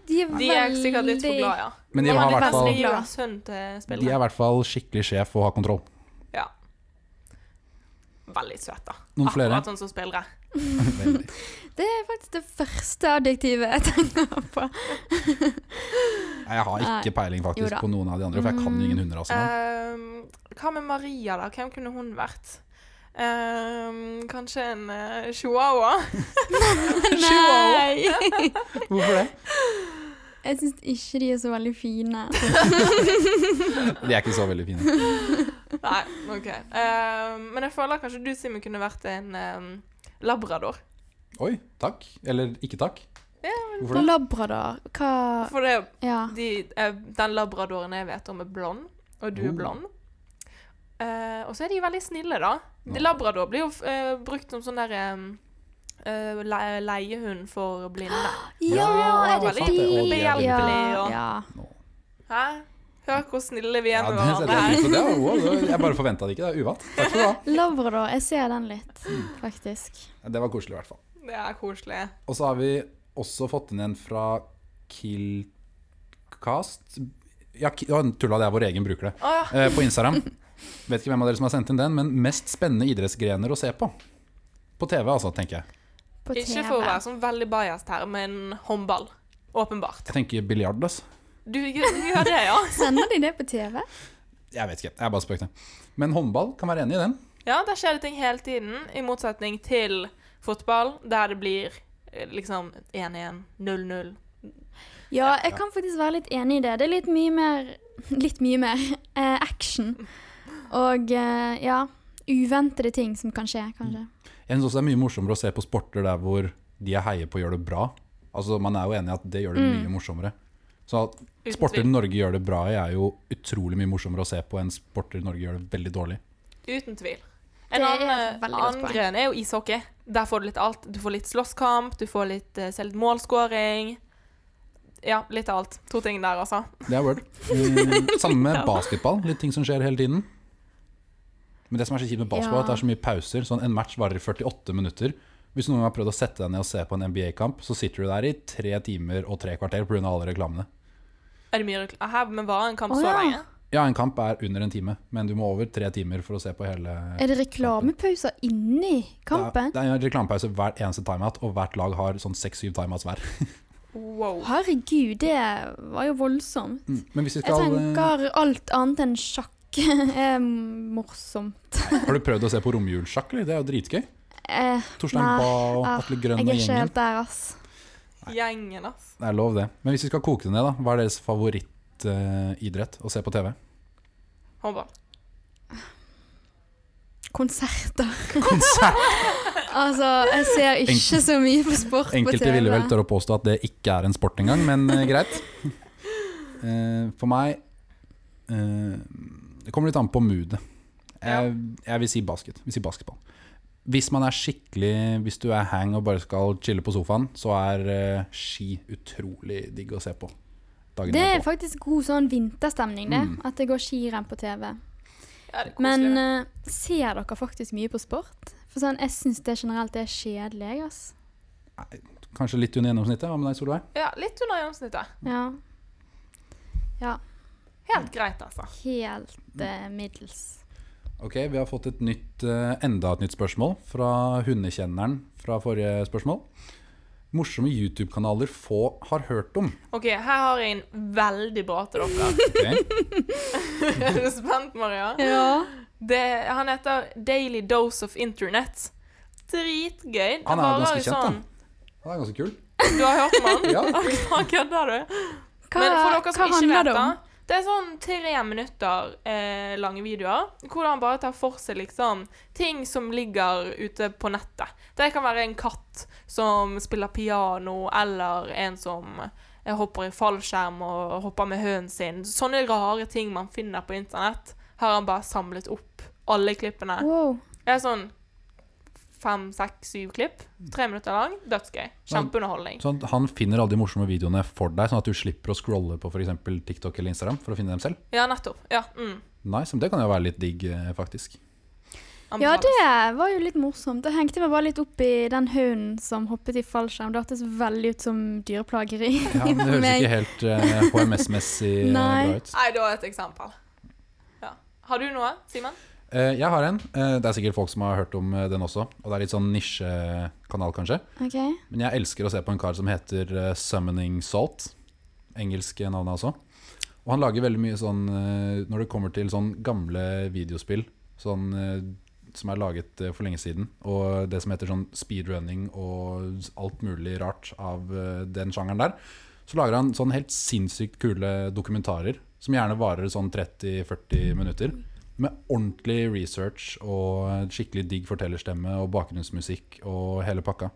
Speaker 2: De er,
Speaker 3: De er sikkert litt for glad, ja.
Speaker 1: Men de
Speaker 2: Ja,
Speaker 1: har
Speaker 2: de
Speaker 1: i
Speaker 2: er
Speaker 1: hvert fall
Speaker 2: veldig glad.
Speaker 1: de er i hvert fall skikkelig sjef og har kontroll.
Speaker 3: Ja. Veldig søt, da.
Speaker 1: Noen
Speaker 2: Ah,
Speaker 1: flere?
Speaker 3: Akkurat sånn som spillere.
Speaker 1: Veldig.
Speaker 2: Det er faktisk det første adjektivet jeg tenker på.
Speaker 1: Jeg har ikke peiling
Speaker 2: Jo
Speaker 1: faktisk
Speaker 2: da.
Speaker 1: på noen av de andre, for jeg kan jo ingen altså. hunderaser. nå.
Speaker 3: Ehm, hva med Maria, da? Hvem kunne hun vært? Ehm, kanskje en eh, chihuahua?
Speaker 2: Mm. Nei!
Speaker 1: Hvorfor det?
Speaker 2: Jeg syns ikke de er så veldig fine.
Speaker 1: De er ikke så veldig fine.
Speaker 3: Nei, OK. Ehm, men jeg føler kanskje du, Simen, kunne vært en ehm, labrador.
Speaker 1: Oi, takk. Eller ikke takk.
Speaker 3: Ja,
Speaker 1: Hvorfor det?
Speaker 2: Labrador, hva
Speaker 3: For det,
Speaker 2: Ja.
Speaker 3: de, eh, den labradoren jeg vet om, er blond, og du
Speaker 1: Oh.
Speaker 3: er blond. Eh, og så er de veldig snille, da. De,
Speaker 1: Ja.
Speaker 3: labrador blir jo eh, brukt som sånn der eh, eh, le leiehund for blinde.
Speaker 2: Ja,
Speaker 1: Ja,
Speaker 2: er det
Speaker 1: veldig
Speaker 2: de?
Speaker 1: behjelpelig
Speaker 2: Ja,
Speaker 3: og-
Speaker 2: ja.
Speaker 3: Hæ? Hør hvor snille vi er
Speaker 1: Ja,
Speaker 3: med
Speaker 1: det setter
Speaker 3: hverandre
Speaker 1: jeg pris på.
Speaker 3: her.
Speaker 1: Det var- wow, det var- Jeg bare forventa det ikke. Det er uvant. Takk skal du ha.
Speaker 2: Labrador, jeg ser den litt, faktisk.
Speaker 1: Det var koselig, i hvert fall.
Speaker 3: Det er koselig.
Speaker 1: Og så har vi også fått inn en fra Killcast Ja, Ki- ja, tulla, det er vår egen bruker, det.
Speaker 3: Å ja.
Speaker 1: Eh, På Instagram. Vet ikke hvem av dere som har sendt inn den, men mest spennende idrettsgrener å se på. På TV, altså, tenker jeg.
Speaker 2: På TV.
Speaker 3: Ikke for å være sånn veldig biased her, men håndball. Åpenbart.
Speaker 1: Jeg tenker biljard, altså.
Speaker 3: Du gjør du gjør det, ja?
Speaker 2: Sender de det på TV?
Speaker 1: Jeg vet ikke, jeg bare spøkte. Men håndball kan være enig i den.
Speaker 3: Ja, der skjer det ting hele tiden, i motsetning til fotball, der det blir eh, liksom 1-1, 0-0,
Speaker 2: Ja, jeg kan faktisk være litt enig i det. Det er litt mye mer Litt mye mer eh, action. Og eh, ja Uventede ting som kan skje, kanskje.
Speaker 1: Jeg synes også det er mye morsommere å se på sporter der hvor de jeg heier på, gjør det bra. Altså, Man er jo enig i at det gjør det mye morsommere. Så at
Speaker 3: Mm. Uten
Speaker 1: sporter
Speaker 3: tvil.
Speaker 1: Norge gjør det bra i, er jo utrolig mye morsommere å se på enn sporter Norge gjør det veldig dårlig.
Speaker 3: Uten tvil. En
Speaker 2: Det er et
Speaker 3: annen,
Speaker 2: veldig godt
Speaker 3: annen
Speaker 2: poeng.
Speaker 3: gren er jo ishockey. Der får du litt alt. Du får litt slåsskamp, du får litt, eh, ser litt målskåring. Ja, litt av alt. To ting der, altså.
Speaker 1: Det er word. Eh, Samme med basketball. Litt ting som skjer hele tiden. Men det som er så kjipt med basketball, er at det er så mye pauser. Sånn En match varer i 48 minutter. Hvis noen har prøvd å sette deg ned og se på en NBA-kamp, så sitter du der i tre timer og tre kvarter pga. alle reklamene.
Speaker 3: Er det mye rekl- Her, men varer en kamp
Speaker 2: Å,
Speaker 3: så
Speaker 2: ja.
Speaker 3: lenge?
Speaker 1: Ja, en kamp er under en time, men du må over tre timer for å se på hele
Speaker 2: Er det reklamepauser inni kampen?
Speaker 1: Det er, det er en reklamepause hver eneste timeout, og hvert lag har sånn seks-syv timeouts hver.
Speaker 3: Wow.
Speaker 2: Herregud, det var jo voldsomt.
Speaker 1: Mm. Men hvis vi
Speaker 2: Jeg
Speaker 1: skal eh,
Speaker 2: tenker alt annet enn sjakk er morsomt.
Speaker 1: Har du prøvd å se på romjulssjakk, eller? Det er jo dritgøy.
Speaker 2: Eh,
Speaker 1: Torstein
Speaker 2: Nei,
Speaker 1: Bae og
Speaker 2: ah,
Speaker 1: Atle Grønn
Speaker 2: jeg
Speaker 1: og
Speaker 2: er ikke
Speaker 1: gjengen.
Speaker 2: helt der, ass.
Speaker 3: Gjengen, ass.
Speaker 1: Det er lov, det. Men hvis vi skal koke det ned, da. Hva er deres favorittidrett å se på TV?
Speaker 3: Håndball.
Speaker 2: Konserter.
Speaker 1: Konsert.
Speaker 2: Altså, jeg ser ikke så mye på sport på TV.
Speaker 1: Enkelte ville vel tørre å påstå at det ikke er en sport engang, men eh, greit. Eh, for meg eh, Det kommer litt an på moodet. Jeg, jeg vil si basket. Jeg vil si basketball. Hvis man er skikkelig Hvis du er hang og bare skal chille på sofaen, så er eh, ski utrolig digg å se på. Dagen
Speaker 2: Det er
Speaker 1: etterpå.
Speaker 2: faktisk god sånn vinterstemning, det.
Speaker 1: Mm.
Speaker 2: At det går skirenn på TV.
Speaker 3: Ja, det er
Speaker 2: Men
Speaker 3: koselig.
Speaker 2: eh, ser dere faktisk mye på sport? For sånn, jeg syns det generelt er kjedelig, jeg, ass.
Speaker 1: Kanskje litt under gjennomsnittet. Hva med deg, Solveig?
Speaker 3: Ja, litt under gjennomsnittet.
Speaker 2: Ja. Ja,
Speaker 3: Helt greit, altså.
Speaker 2: helt eh, middels.
Speaker 1: Ok, Vi har fått et nytt, eh, enda et nytt spørsmål fra hundekjenneren fra forrige spørsmål. Morsomme YouTube-kanaler få har hørt om.
Speaker 3: OK, her har jeg en veldig bra til dere.
Speaker 1: Ok?
Speaker 3: Er du spent, Maria?
Speaker 2: Ja.
Speaker 3: Det, han heter Daily Dose of Internet. Dritgøy. Det
Speaker 1: Han er
Speaker 3: varer
Speaker 1: ganske
Speaker 3: jo
Speaker 1: kjent,
Speaker 3: sånn-
Speaker 1: Han er ganske kul.
Speaker 3: Du har hørt om han?
Speaker 1: Ja.
Speaker 3: Han kødder, du.
Speaker 2: Hva,
Speaker 3: Men for dere
Speaker 2: hva
Speaker 3: som ikke
Speaker 2: handler
Speaker 3: vet
Speaker 2: det
Speaker 3: det,
Speaker 2: om?
Speaker 3: det er sånn tre minutter eh, lange videoer hvor han bare tar for seg liksom ting som ligger ute på nettet. Det kan være en katt som spiller piano, eller en som eh, hopper i fallskjerm og hopper med hønen sin. Sånne rare ting man finner på internett, har han bare samlet opp alle klippene.
Speaker 2: Wow.
Speaker 3: Det er sånn fem, seks, syv klipp. Tre minutter lang. Dødsgøy. Kjempeunderholdning.
Speaker 1: Sånn, at han finner alle de morsomme videoene for deg, sånn at du slipper å scrolle på f.eks. TikTok eller Instagram for å finne dem selv.
Speaker 3: Ja, nettopp. Ja, mm.
Speaker 1: Nice, men Det kan jo være litt digg, eh, faktisk.
Speaker 2: Ja,
Speaker 3: Anbefales.
Speaker 2: det var jo litt morsomt. Jeg hengte meg bare litt opp i den hunden som hoppet i fallskjerm. Det hørtes veldig ut som dyreplageri.
Speaker 1: Ja, men Det
Speaker 2: for
Speaker 1: høres
Speaker 2: meg.
Speaker 1: ikke helt eh, HMS-messig eh,
Speaker 2: Nei.
Speaker 1: bra ut.
Speaker 3: Nei, det var et eksempel. Ja. Har du noe, Simen?
Speaker 1: Eh, jeg har en. Eh, det er sikkert folk som har hørt om eh, den også. Og det er litt sånn nisjekanal, kanskje.
Speaker 2: Ok.
Speaker 1: Men jeg elsker å se på en kar som heter eh, Summoning Salt. Engelske navnet altså. Og han lager veldig mye sånn eh, Når det kommer til sånn gamle videospill sånn, eh, som er laget eh, for lenge siden, og det som heter sånn speedrunning og alt mulig rart av eh, den sjangeren der, så lager han sånn helt sinnssykt kule dokumentarer som gjerne varer sånn 30-40 minutter. Med ordentlig research og skikkelig digg fortellerstemme og bakgrunnsmusikk og hele pakka.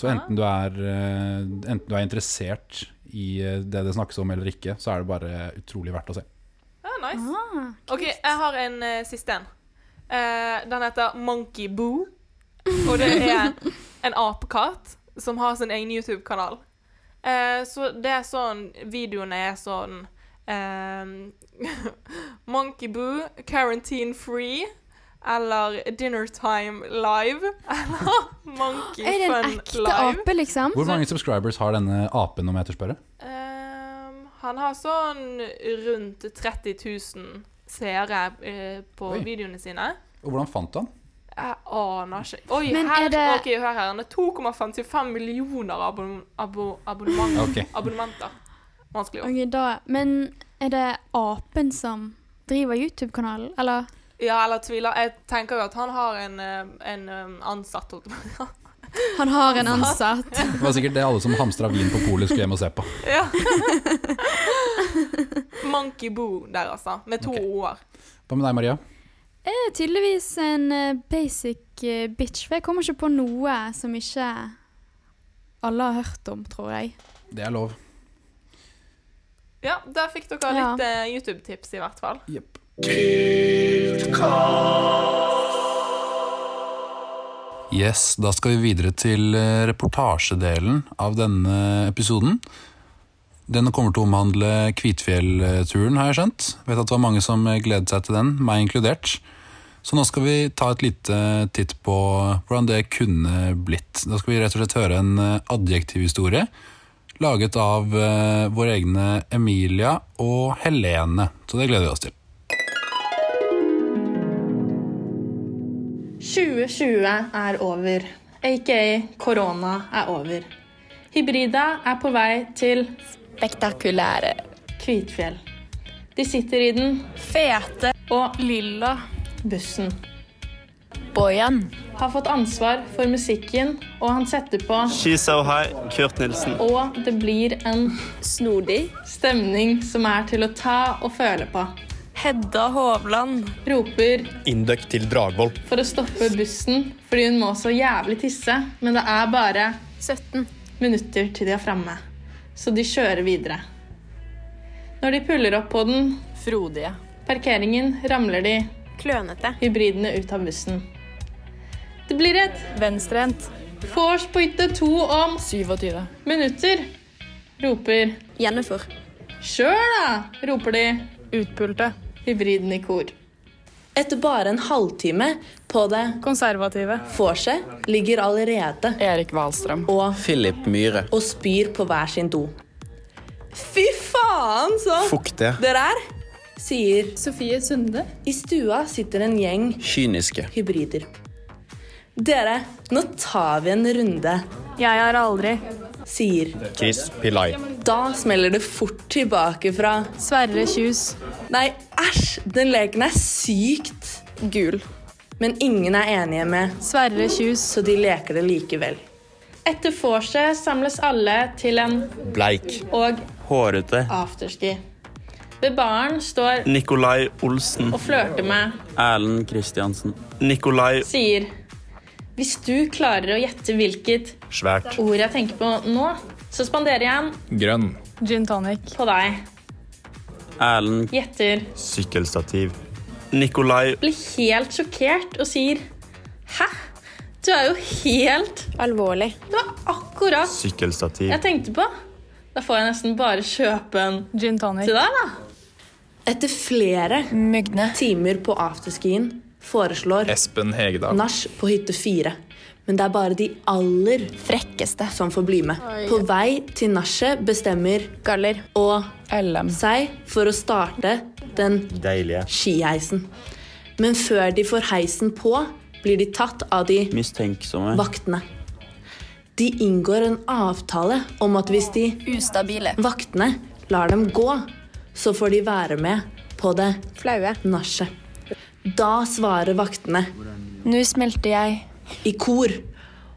Speaker 1: Så enten du er, eh, enten du er interessert i eh, det det snakkes om eller ikke, så er det bare utrolig verdt å se.
Speaker 3: Ja, nice.
Speaker 2: Ah,
Speaker 3: OK, jeg har en eh, siste en. Eh, den heter Monkey Boo. Og det er en apekatt som har sin egen YouTube-kanal. Eh, så det er sånn Videoene er sånn eh, Monkey Boo, Quarantine Free eller Dinner Time Live. Eller Monkey
Speaker 2: er det en
Speaker 3: Fun
Speaker 2: ekte
Speaker 3: Live.
Speaker 2: ape, liksom?
Speaker 1: Hvor mange subscribers har denne apen, om jeg tør spørre?
Speaker 3: Ehm, han har sånn rundt 30 000 seere eh, på
Speaker 1: Oi.
Speaker 3: videoene sine.
Speaker 1: Og hvordan fant du han?
Speaker 3: Jeg aner ikke Oi,
Speaker 2: Men
Speaker 3: her,
Speaker 2: er det-
Speaker 3: ok, hør her. Han er 2,55 millioner abon abo abonnement
Speaker 1: Ok.
Speaker 3: abonnementer. Vanskelig ord.
Speaker 2: Ok, da. Men er det apen som driver YouTube-kanalen, eller?
Speaker 3: Ja, eller tviler. Jeg tenker jo at han har en, eh, en eh, ansatt holdt jeg på å si.
Speaker 2: Han har en ansatt.
Speaker 1: Det var sikkert det alle som hamstra vin på polet skulle hjem og se på.
Speaker 3: Ja. Monkey boo der, altså. Med to
Speaker 1: Ok.
Speaker 3: o-er.
Speaker 1: Hva med deg, Maria?
Speaker 2: Jeg er tydeligvis en eh, basic eh, bitch, for jeg kommer ikke på noe som ikke alle har hørt om, tror jeg.
Speaker 1: Det er lov.
Speaker 3: Ja, der fikk dere
Speaker 2: Ja.
Speaker 3: litt eh, YouTube-tips, i hvert fall.
Speaker 1: Yes, da skal vi videre til eh, reportasjedelen av denne episoden. Den kommer til å omhandle Kvitfjell-turen, har jeg skjønt. Vet at det var mange som eh, gledet seg til den, meg inkludert. Så nå skal vi ta et lite titt på hvordan det kunne blitt. Da skal vi rett og slett høre en eh, adjektivhistorie laget av eh, våre egne Emilia og Helene. Så det gleder vi oss til.
Speaker 4: 2020 er over, aka korona er over. Hybrida er på vei til
Speaker 5: Spektakulære.
Speaker 4: Kvitfjell. De sitter i den
Speaker 5: Fete.
Speaker 4: og lilla bussen.
Speaker 5: Bojan.
Speaker 4: Har fått ansvar for musikken, og han setter på
Speaker 6: She's So High, Kurt Nilsen.
Speaker 4: Og det blir en
Speaker 5: Snodig.
Speaker 4: stemning som er til å ta og føle på.
Speaker 5: Hedda Hovland.
Speaker 4: Roper
Speaker 7: Indøk til Dragvoll.
Speaker 4: for å stoppe bussen fordi hun må så jævlig tisse, men det er bare
Speaker 5: 17.
Speaker 4: minutter til de er framme, så de kjører videre. Når de puller opp på den
Speaker 5: Frodige.
Speaker 4: parkeringen, ramler de
Speaker 5: Klønete.
Speaker 4: hybridene ut av bussen. Det blir et
Speaker 5: Venstrehendt.
Speaker 4: vors på hytte to om
Speaker 5: 27.
Speaker 4: minutter, roper
Speaker 5: Jennifer.
Speaker 4: Kjør, da! roper de
Speaker 8: Utpulte.
Speaker 4: hybriden i kor.
Speaker 9: Etter bare en halvtime på det
Speaker 8: Konservative.
Speaker 9: vorset ligger allerede
Speaker 8: Erik Wahlstrøm.
Speaker 9: og,
Speaker 7: Philip Myhre.
Speaker 9: og spyr på hver sin do. Fy faen, så
Speaker 7: Fuktige.
Speaker 9: dere er! Sier Sofie Sunde. I stua sitter en gjeng
Speaker 7: Kyniske.
Speaker 9: hybrider. Dere, nå tar vi en runde,
Speaker 8: Jeg har aldri.
Speaker 9: sier.
Speaker 7: Chris Pillai.
Speaker 9: Da smeller det fort tilbake fra
Speaker 8: Sverre Kjus.
Speaker 9: Nei, æsj, den leken er sykt gul. Men ingen er enige med,
Speaker 8: Sverre Kjus.
Speaker 9: så de leker det likevel.
Speaker 4: Etter vorset samles alle til en
Speaker 7: Bleik.
Speaker 4: og
Speaker 6: Hårete.
Speaker 4: afterski. Ved baren står
Speaker 6: Nikolai Olsen.
Speaker 4: og flørter med,
Speaker 6: Erlend Kristiansen. Nikolai
Speaker 4: sier Hvis du klarer å gjette hvilket
Speaker 7: Svært.
Speaker 4: ord jeg tenker på nå, så spanderer jeg en
Speaker 7: Grønn.
Speaker 8: Gin tonic.
Speaker 4: på deg.
Speaker 6: Erlend
Speaker 4: Gjetter.
Speaker 7: Sykkelstativ.
Speaker 6: Nikolai
Speaker 4: Blir helt sjokkert og sier Hæ? Du er jo helt
Speaker 5: Alvorlig.
Speaker 4: Det var akkurat
Speaker 7: Sykkelstativ.
Speaker 4: jeg tenkte på. Da får jeg nesten bare kjøpe en
Speaker 8: Gin tonic.
Speaker 4: til deg, da.
Speaker 9: Etter flere
Speaker 5: Mugne.
Speaker 9: timer på afterskien foreslår
Speaker 7: Espen Hegedal.
Speaker 9: nach på hytte fire. Men det er bare de aller
Speaker 5: Frekkeste.
Speaker 9: som får bli med. På vei til nachet bestemmer
Speaker 5: Galler.
Speaker 9: å
Speaker 8: LM.
Speaker 9: seg for å starte den
Speaker 7: Deilige.
Speaker 9: skiheisen. Men før de får heisen på, blir de tatt av de
Speaker 6: Mistenksomme.
Speaker 9: vaktene. De inngår en avtale om at hvis de
Speaker 5: Ustabile.
Speaker 9: vaktene lar dem gå, så får de være med på det
Speaker 5: Flaue.
Speaker 9: nachet. Da svarer vaktene
Speaker 5: Nå smelter jeg.
Speaker 9: i kor.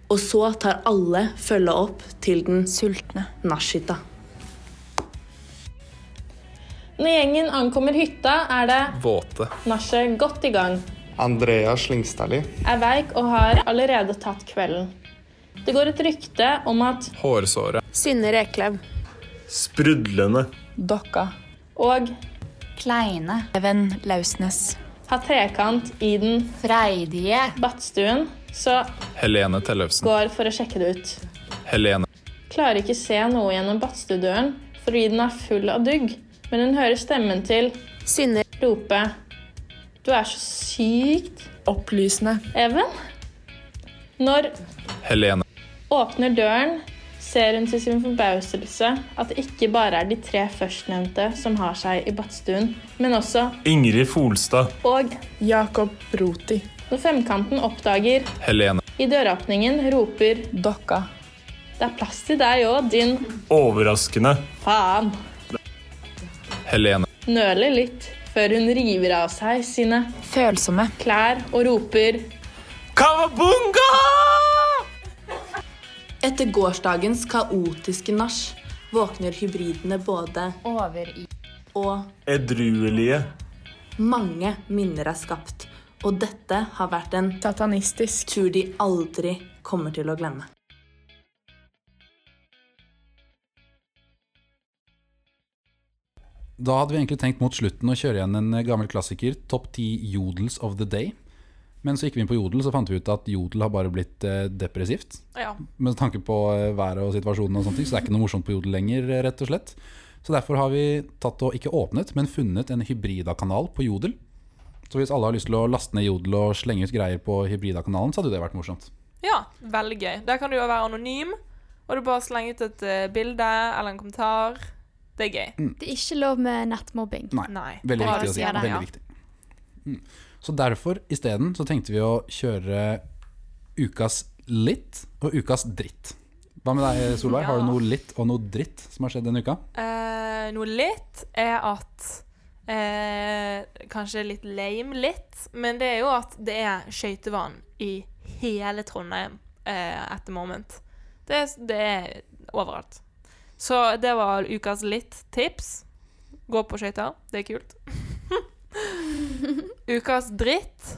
Speaker 9: Og så tar alle følge opp til den
Speaker 5: Sultne.
Speaker 9: nachhytta.
Speaker 4: Når gjengen ankommer hytta, er det
Speaker 7: Våte.
Speaker 4: nachet godt i gang.
Speaker 10: Andrea Slingstadli.
Speaker 4: Er veik og har allerede tatt kvelden. Det går et rykte om at
Speaker 7: Hårsåre.
Speaker 5: Synne Røklaug.
Speaker 6: Sprudlende.
Speaker 8: Dokka.
Speaker 4: og
Speaker 5: Kleine. Even Lausnes.
Speaker 4: har trekant i den
Speaker 5: Freidige.
Speaker 4: badstuen, så
Speaker 7: Helene Tellefsen.
Speaker 4: går for å sjekke det ut.
Speaker 7: Helene.
Speaker 4: Klarer ikke se noe gjennom badstuedøren fordi den er full av dugg, men hun hører stemmen til
Speaker 5: Synne
Speaker 4: rope Du er så sykt,
Speaker 8: Opplysende.
Speaker 4: Even. Når
Speaker 7: Helene.
Speaker 4: åpner døren, ser hun til sin forbauselse at det ikke bare er de tre førstnevnte som har seg i badstuen, men også
Speaker 6: Ingrid Folstad.
Speaker 4: Og
Speaker 8: Jakob Roti.
Speaker 4: når femkanten oppdager
Speaker 7: Helene.
Speaker 4: i døråpningen, roper
Speaker 8: Dokka.
Speaker 4: Det er plass til deg òg, din
Speaker 6: Overraskende.
Speaker 4: faen.
Speaker 7: Helene.
Speaker 4: Nøler litt før hun river av seg sine
Speaker 5: følsomme.
Speaker 4: klær og roper
Speaker 6: Kawabunga!
Speaker 9: Etter gårsdagens kaotiske nach våkner hybridene både
Speaker 11: Over i
Speaker 9: og
Speaker 6: Edruelige.
Speaker 9: mange minner er skapt. Og dette har vært en
Speaker 8: satanistisk
Speaker 9: tur de aldri kommer til å glemme.
Speaker 1: Da hadde vi egentlig tenkt mot slutten å kjøre igjen en eh, gammel klassiker, Topp 10 Jodels of the Day. Men så gikk vi inn på Jodel, så fant vi ut at Jodel har bare blitt eh, depressivt.
Speaker 3: Ja.
Speaker 1: Med tanke på eh, været og situasjonen og sånne ting, så det er ikke noe morsomt på Jodel lenger, eh, rett og slett. Så derfor har vi tatt og ikke åpnet, men funnet en Hybrida-kanal på Jodel. Så hvis alle har lyst til å laste ned Jodel og slenge ut greier på Hybrida-kanalen, så hadde jo det vært morsomt.
Speaker 3: Ja, veldig gøy. Der kan du jo være anonym, og du bare slenger ut et eh, bilde eller en kommentar. Det er gøy.
Speaker 2: Det er ikke lov med nettmobbing.
Speaker 1: Nei.
Speaker 3: Nei.
Speaker 1: Veldig
Speaker 3: Bra
Speaker 1: viktig
Speaker 3: du
Speaker 1: å si.
Speaker 3: sier det,
Speaker 1: Veldig
Speaker 3: ja.
Speaker 1: viktig. Mm. Så derfor, isteden, så tenkte vi å kjøre ukas litt og ukas dritt. Hva med deg, Solveig? Har du noe litt og noe dritt som har skjedd denne uka?
Speaker 3: Eh, noe litt er at eh, Kanskje litt lame, litt. Men det er jo at det er skøytevann i hele Trondheim eh, at the moment. Det, er- det er overalt. Så det var ukas litt-tips. Gå på skøyter. Det er kult. ukas dritt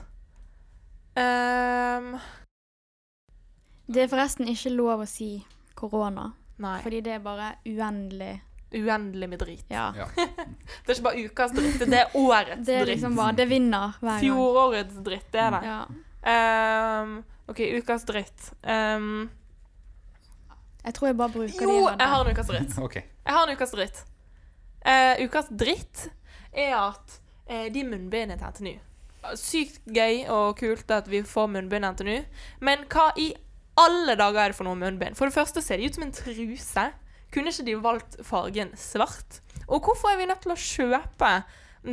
Speaker 3: Ehm,
Speaker 2: Det er forresten ikke lov å si korona.
Speaker 3: Nei.
Speaker 2: Fordi det er bare uendelig.
Speaker 3: Uendelig med drit.
Speaker 2: Ja.
Speaker 3: Det er ikke bare ukas dritt, det er årets
Speaker 2: Det er
Speaker 3: dritt.
Speaker 2: liksom bare, det vinner hver gang.
Speaker 3: Fjorårets dritt, det er det.
Speaker 2: Ja.
Speaker 3: Ehm, OK, ukas dritt. Ehm,
Speaker 2: Jeg tror jeg bare bruker de
Speaker 3: jo,
Speaker 2: hadde.
Speaker 3: jeg har en ukas dritt.
Speaker 1: Ok.
Speaker 3: Jeg har en ukas dritt. Eh, ukas dritt er at eh, de munnbindene til NTNU Sykt gøy og kult at vi får munnbind til NTNU, men hva i alle dager er det for noe munnbind? For det første ser de ut som en truse. Kunne ikke de valgt fargen svart? Og hvorfor er vi nødt til å kjøpe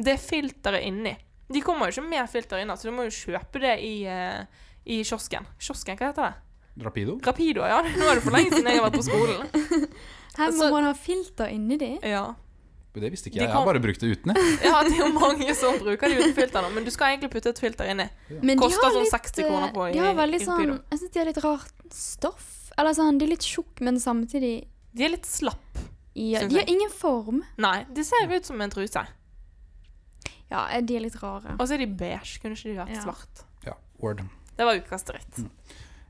Speaker 3: det filteret inni? De kommer jo ikke med filter inn, så du må jo kjøpe det i, eh, i kiosken. Kiosken, hva heter det?
Speaker 1: Rapido?
Speaker 3: Rapido, ja. Nå er det for lenge siden jeg har vært på skolen.
Speaker 2: Her
Speaker 3: altså-
Speaker 2: må man ha filter inni de.
Speaker 3: Ja.
Speaker 1: Det visste
Speaker 3: De
Speaker 1: ikke jeg. Jeg
Speaker 3: kom-
Speaker 1: har bare brukt det uten, jeg.
Speaker 3: Ja, det er jo mange som bruker de uten filter nå, men du skal egentlig putte et filter inni.
Speaker 2: Men de
Speaker 3: Koster
Speaker 2: har
Speaker 3: sånn
Speaker 2: litt,
Speaker 3: 60 kroner på i,
Speaker 2: De har veldig
Speaker 3: i
Speaker 2: sånn
Speaker 3: Rapido.
Speaker 2: Jeg syns de har litt rart stoff. Eller sånn, de er litt tjukke, men samtidig
Speaker 3: De er litt slapp.
Speaker 2: ja,
Speaker 3: Synes
Speaker 2: De
Speaker 3: jeg.
Speaker 2: har ingen form.
Speaker 3: Nei, de ser jo ut som en truse.
Speaker 2: Ja, eh, de er litt rare.
Speaker 3: Og så er de beige. Kunne ikke de vært
Speaker 2: Ja.
Speaker 3: svart?
Speaker 1: Ja, word.
Speaker 3: Det var ukas dritt.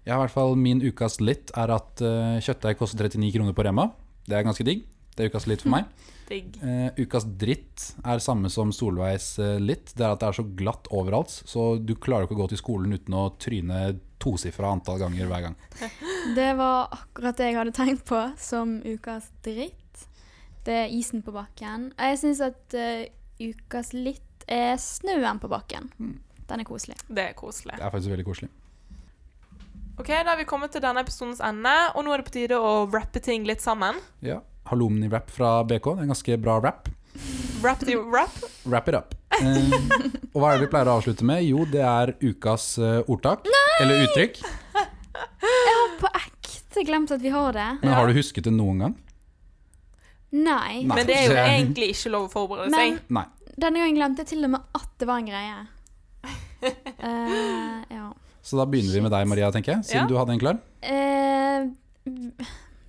Speaker 1: Jeg har i hvert fall Min ukas litt er at eh, kjøttdeig koster 39 kroner på Rema. Det er ganske digg. Det er ukas litt for meg.
Speaker 3: Digg.
Speaker 1: Eh, ukas dritt er samme som Solveigs eh, litt. Det er at det er så glatt overalt, så du klarer ikke å gå til skolen uten å tryne tosifra antall ganger hver gang.
Speaker 2: Det var akkurat det jeg hadde tenkt på som ukas dritt. Det er isen på bakken. Jeg syns at eh, ukas litt er snøen på bakken.
Speaker 3: Hmm.
Speaker 2: Den er koselig.
Speaker 3: Det er koselig.
Speaker 1: Det er faktisk veldig koselig.
Speaker 3: Ok, Da har vi kommet til denne episodens ende, og nå er det på tide å rappe ting litt sammen.
Speaker 1: Ja. Halloumni-rap fra BK. Det er en ganske bra rap.
Speaker 3: Rap to rap.
Speaker 1: Wrap it up. Eh, og hva er det vi pleier å avslutte med? Jo, det er ukas eh, ordtak. Eller uttrykk.
Speaker 2: Ikke glemt at vi har det.
Speaker 1: Men har du husket det noen gang?
Speaker 2: Nei.
Speaker 1: Nei.
Speaker 3: Men det er jo
Speaker 1: Det-
Speaker 3: egentlig ikke lov å forberede
Speaker 2: Men-
Speaker 3: seg.
Speaker 1: Nei.
Speaker 2: Denne gangen glemte jeg til og med at det var en greie. Eh, ja.
Speaker 1: Så da begynner vi med deg, Maria, tenker jeg. Siden
Speaker 2: Ja.
Speaker 1: du hadde en klar.
Speaker 2: Eh,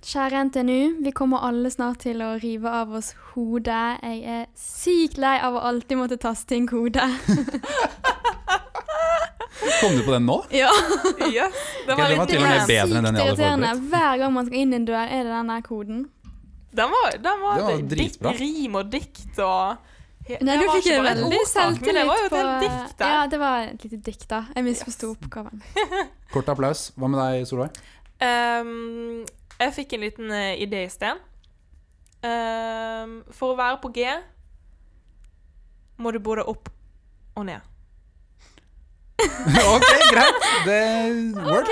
Speaker 2: kjære NTNU, vi kommer alle snart til å rive av oss hodet. Jeg er sykt lei av å alltid måtte taste inn kode.
Speaker 1: Kom du på den nå?
Speaker 2: ja.
Speaker 3: Yes,
Speaker 1: Ok, den var til og med bedre enn den jeg hadde forberedt.
Speaker 2: Hver gang man skal inn en dør, er det den der koden.
Speaker 3: Den var, den var,
Speaker 1: Det var
Speaker 3: dikt-
Speaker 1: dritbra.
Speaker 3: Rim og dikt og He-
Speaker 2: Nei,
Speaker 3: det
Speaker 2: du
Speaker 3: var
Speaker 2: fikk
Speaker 3: ikke
Speaker 2: en
Speaker 3: bare et
Speaker 2: veldig
Speaker 3: ordtak, men det
Speaker 2: selvtillit
Speaker 3: var jo et
Speaker 2: på
Speaker 3: helt dikt der.
Speaker 2: Ja, det var et lite dikt, da. Jeg misforsto oppgaven.
Speaker 1: Kort applaus. Hva med deg, Solveig?
Speaker 3: Ehm, jeg fikk en liten eh, idé i sted. Ehm, for å være på G må du både opp og ned.
Speaker 1: ok, greit. Det word.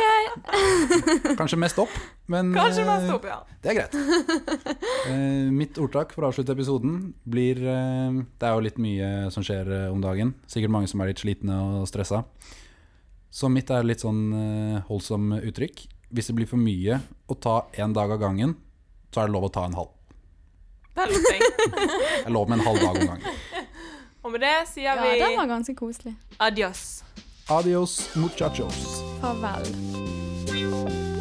Speaker 1: Kanskje mest opp, men
Speaker 3: Kanskje
Speaker 1: eh,
Speaker 3: mest opp, ja.
Speaker 1: det er greit. Eh, mitt ordtak for å avslutte episoden blir eh, Det er jo litt mye som skjer eh, om dagen. Sikkert mange som er litt slitne og stressa. Så mitt er litt sånn eh, holdsom uttrykk. Hvis det blir for mye å ta én dag av gangen, så er det lov å ta en halv.
Speaker 3: Det er litt ting.
Speaker 1: Det er lov med en halv dag om gangen.
Speaker 3: Og med det sier
Speaker 2: Ja,
Speaker 3: vi
Speaker 2: den var ganske koselig.
Speaker 3: adios.
Speaker 1: Adios muchachos.
Speaker 2: Farvel.